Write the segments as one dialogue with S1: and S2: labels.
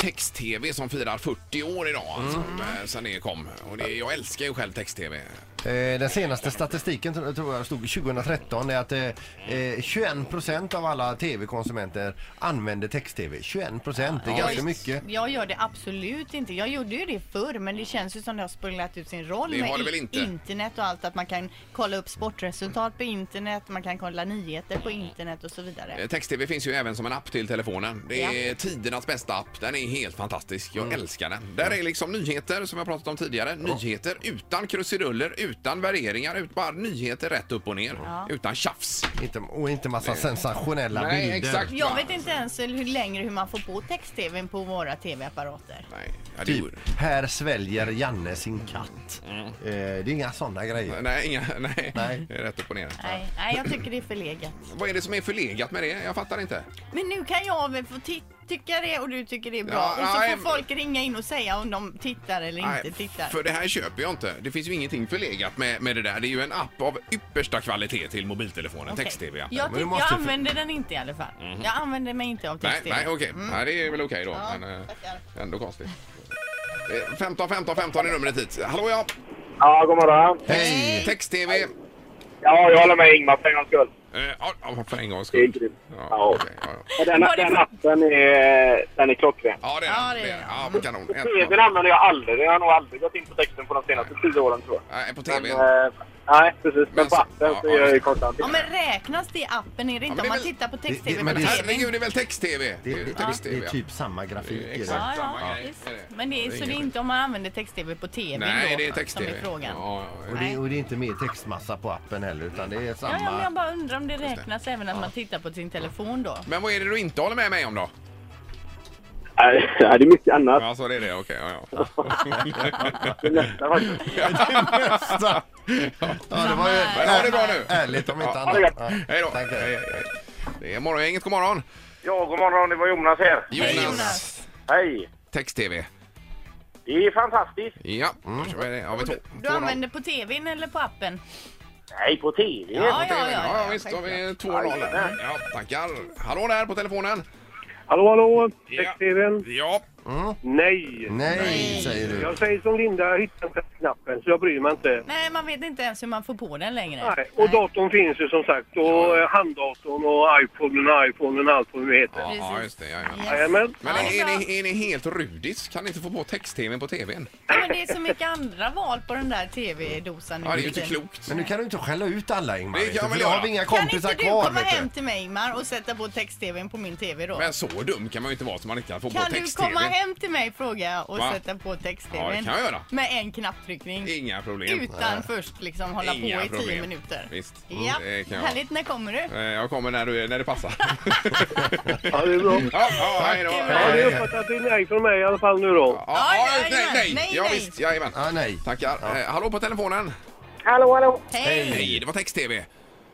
S1: text-tv som firar 40 år idag
S2: Mm.
S1: alltså, eh, sen det kom. Och det, jag älskar ju själv text-tv.
S2: Eh, Den senaste statistiken tro- tror jag stod 2013 är att eh, eh, 21 procent av alla tv-konsumenter använder text-tv. 21 procent, det är ganska mycket.
S3: Jag gör det absolut inte. Jag gjorde ju det förr men det känns ju som det har spelat ut sin roll
S1: Det har
S3: med
S1: det
S3: i-
S1: väl inte?
S3: internet och allt. Att man kan kolla upp sportresultat på internet, man kan kolla nyheter på internet och så vidare.
S1: Eh, Text-tv finns ju även som en app till telefonen. Det är tidernas bästa app. Den är helt fantastisk.
S2: Mm.
S1: Jag älskar den. Där är liksom nyheter, som jag pratat om tidigare. Nyheter utan krusiduller, utan värderingar, ut bara nyheter rätt upp och ner. Utan tjafs.
S2: Inte, och inte massa sensationella
S1: Nej,
S2: bilder.
S1: exakt.
S3: Jag vet inte ens hur längre hur man får på text-tvn på våra tv-apparater.
S1: Nej, ja, det
S2: Typ,
S1: gjorde-
S2: här sväljer Janne sin katt. Eh, det är inga sådana grejer.
S1: Mm. Nej, inga, nej.
S2: Nej.
S1: Det är Rätt upp och ner.
S3: Nej, nej, jag tycker det är förlegat.
S1: Vad är det som är förlegat med det? Jag fattar inte.
S3: Men nu kan jag väl få ti- tycka det och du tycker det är bra.
S1: Ja,
S3: och så
S1: nej, men-
S3: får folk ringa in och säga om de tittar eller
S1: Nej,
S3: inte tittar.
S1: För det här köper jag inte. Det finns ju ingenting förlegat med, med det där. Det är ju en app av yppersta kvalitet till mobiltelefonen.
S3: Okej.
S1: Text-tv.
S3: Jag,
S2: Men du
S3: tyck-
S2: måste
S3: jag
S2: för-
S3: använder den inte i alla fall. Jag använder mig inte av
S1: Mhm. Nej,
S3: text-tv. Mm.
S1: nej, okej. Nej, det är väl okej då.
S3: Ja,
S1: men eh,
S3: tackar.
S1: ändå konstigt. Eh, 15 15 15 är numret hit. Hallå ja!
S4: Ja, god morgon.
S2: Hej!
S1: Text-tv. Eh,
S4: Ja, jag håller med Ingmar för en gångs skull.
S1: Ja, ja, för en gångs
S4: Det är
S1: skull.
S4: grymt.
S1: Ja,
S4: Ja.
S1: okej, ja, ja.
S4: Den,
S3: Var det
S4: den
S3: för-
S4: appen är, den är klockren.
S1: ja, det
S3: Ja,
S1: är
S3: det
S1: det.
S3: är
S1: det.
S3: det.
S1: är- Ja, kanon. Ett,
S4: TVn använder jag aldrig. Jag har nog aldrig gått in på texten på de senaste tio åren tror jag.
S1: Nej, på
S4: Men,
S1: tvn.
S4: eh, nej, precis. Men,
S1: Men
S4: på
S1: så-
S4: appen så
S1: ja,
S4: gör jag
S1: ja.
S4: ju konstant
S3: Ja, men räknas det i appen? Är det inte
S1: men det
S3: om man
S1: är väl-
S3: tittar på
S2: det-
S3: text-tv
S2: men
S3: på
S2: det är-
S3: tv?
S1: Herregud, det är väl text-tv?
S2: Det, det, det, det är
S1: ja.
S2: typ samma grafik.
S1: Det är
S2: i det.
S1: exakt.
S3: Ja,
S1: samma
S3: ja,
S1: grej.
S3: visst.
S1: Är det?
S3: Men det är,
S1: Det är
S3: så det är
S1: inget
S3: inte om man använder text-tv på tv
S1: Nej,
S3: då,
S1: det är
S3: som
S1: text-tv.
S3: är frågan. Ja,
S1: Ja, ja,
S2: Och det, och det är inte mer textmassa på appen heller utan det är
S3: ja, men jag
S2: samma.
S3: bara undrar om det räknas även att man tittar på sin telefon då.
S1: Men vad är det du inte håller med mig om då?
S4: Nej, det är mycket annat.
S1: Ja, så det är det. Okej, ja, ja.
S4: Det är nästan faktiskt.
S2: Nästa. Ja, det var ju
S1: Men ha det bra nu!
S2: ärligt om inte
S1: Ja,
S2: annat.
S4: det är gott.
S2: Ja,
S1: Hej då!
S2: tack.
S1: Hej, hej, hej. Det är morgongänget, god morgon!
S4: Ja, god morgon. Det var Jonas här.
S3: Hej Jonas!
S4: Hej.
S1: Text-tv.
S4: Det är fantastiskt.
S1: Ja, då kör vi det. Har vi två,
S3: Mm. Du
S1: två
S3: använder på tvn eller på appen?
S4: Nej, på TV.
S3: Ja, ja,
S1: Ja,
S3: ja.
S1: ja, visst, då har vi två nollor. Ja, tackar. Hallå där på telefonen.
S5: Hallå, hallå!
S1: Ja.
S5: Text-tvn?
S1: Ja,
S3: Mm.
S5: Nej!
S2: Nej, säger du.
S5: Jag säger som Linda, jag hittar inte knappen så jag bryr mig inte.
S3: Nej, man vet inte ens hur man får på den längre.
S5: Nej. Och datorn finns ju som sagt och eh, handdatorn och iPoden och iPhonen allt vad det heter.
S1: ja,
S3: Precis.
S1: ja just det. Ja, ja.
S3: Yes.
S5: Jajamän.
S1: Men
S3: Ja,
S1: är,
S3: det är
S1: är,
S3: bra.
S1: ni, är ni helt rudis? Kan ni inte få på text-tvn på tvn?
S3: Ja, men det är så mycket andra val på den där tv-dosan nu
S1: Ja, det är ju
S3: för
S1: inte
S3: tiden.
S1: klokt.
S2: Men nu kan du inte skälla ut alla Ingmar.
S1: Det
S2: vet
S1: kan
S2: du,
S1: man
S2: för då har
S1: göra.
S2: vi inga
S3: Kan inte
S2: kompisar
S3: du
S2: kvar.
S3: komma
S2: vet du.
S3: hem till mig Ingmar och sätta på text-tvn på min tv då?
S1: Men så dum kan man ju inte vara som man inte kan få på
S3: Kan du
S1: text-tv.
S3: komma hem till mig frågar jag och
S1: Va?
S3: sätta på text-tvn?
S1: Ja, det kan jag göra.
S3: Med en knapptryckning.
S1: Inga problem.
S3: Utan först liksom hålla
S1: Inga
S3: på i tio
S1: problem.
S3: minuter.
S1: Visst. Mm,
S3: Ja,
S1: Det kan jag.
S3: härligt. När kommer du?
S1: Eh, Jag kommer när, du, när det passar.
S5: Ja, det är bra.
S1: ja, ja, hej då.
S5: Ja, det
S1: Ja,
S5: är uppfattat till nej från mig i alla fall nu då.
S1: ja,
S3: Ja,
S1: nej, nej,
S3: nej,
S1: Ja,
S3: nej.
S1: visst. Jajamän.
S2: Ja, nej.
S1: Tackar. Eh, Hallå på telefonen.
S6: Hallå, hallå.
S3: Hej!
S1: Hej, det var text-tv.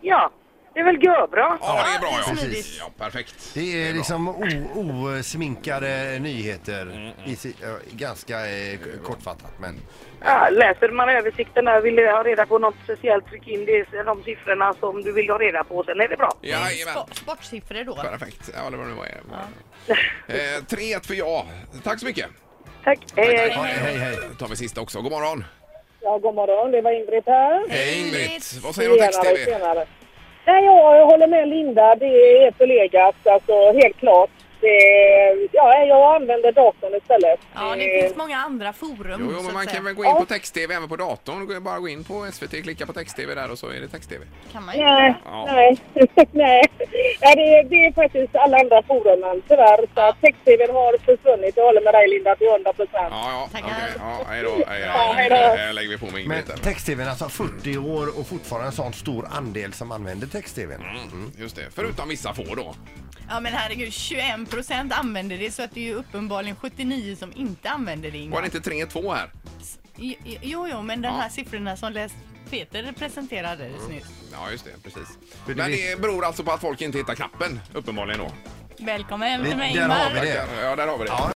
S6: Ja, det är väl görbra.
S1: Ja, det är bra.
S3: det är
S1: Ja,
S3: smidigt.
S1: ja perfekt.
S2: Det är
S1: bra.
S2: liksom o- osminkade
S1: Mm.
S2: nyheter. I, si- ja, ganska eh, k- kortfattat men.
S6: Ja, läser man översikten där, vill du ha reda på något speciellt, tryck in det, de siffrorna som du vill ha reda på, sen är det bra.
S1: Jajamän.
S3: Sport, sportsiffror då.
S1: Perfekt. Ja, det var det var. Eh, 3-1 för ja. Tack så mycket.
S6: Tack, hej,
S1: Ja,
S6: hej.
S2: Hej, hej.
S1: Då tar vi sista också. God morgon.
S6: Ja, god morgon, det var Ingrid här.
S1: Hej Ingrid.
S3: Ingrid.
S1: Vad säger du om text-tv?
S6: senare. Nej, ja, jag håller med Linda, det är förlegat, alltså helt klart. Det, ja, jag använder datorn istället.
S3: Ja, det finns många andra forum.
S1: Jo, jo,
S3: så
S1: men
S3: att
S1: man
S3: säga.
S1: kan väl gå in på text-tv även på datorn. Gå- Bara gå in på SVT, klicka på text-tv där och så är det text-tv.
S3: kan man ju.
S6: Eh, Nej,
S1: Ja.
S6: nej, nej. nej det, är- det är faktiskt alla andra forumen tyvärr. Så att text-tvn har försvunnit. Jag håller med dig Linda till 100 procent.
S1: Ja, ja.
S3: Tackar.
S1: okej. Ja, hej då. Hej,
S6: Ja,
S1: hej,
S6: hej
S1: då.
S6: då.
S1: Eh, lägger vi på med
S2: Men
S1: Ingrid där.
S2: text-tvn alltså 40 år och fortfarande en sån stor andel som använder text-tvn.
S1: Mm, Just det. Förutom vissa få då.
S3: Ja, men herregud, 21 procent använder det så att det är ju uppenbarligen 79 som inte använder det. Ingmar.
S1: Var det inte 3-2 här?
S3: Jo, jo, jo, men de
S1: Ja.
S3: här siffrorna som läst Peter presenterade alldeles nyss.
S1: Ja, just det. Precis.
S2: För det
S1: Men
S2: vet-
S1: det beror alltså på att folk inte hittar knappen, uppenbarligen då.
S3: Välkommen hem till mig
S2: Där har vi
S3: Ingmar.
S2: det.
S1: Ja, där har vi det.
S2: Ja.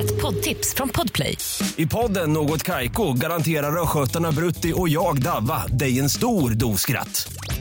S7: Ett poddtips från Podplay.
S8: I podden Något Kaiko garanterar östgötarna Brutti och jag, Davva, dig en stor dos skratt.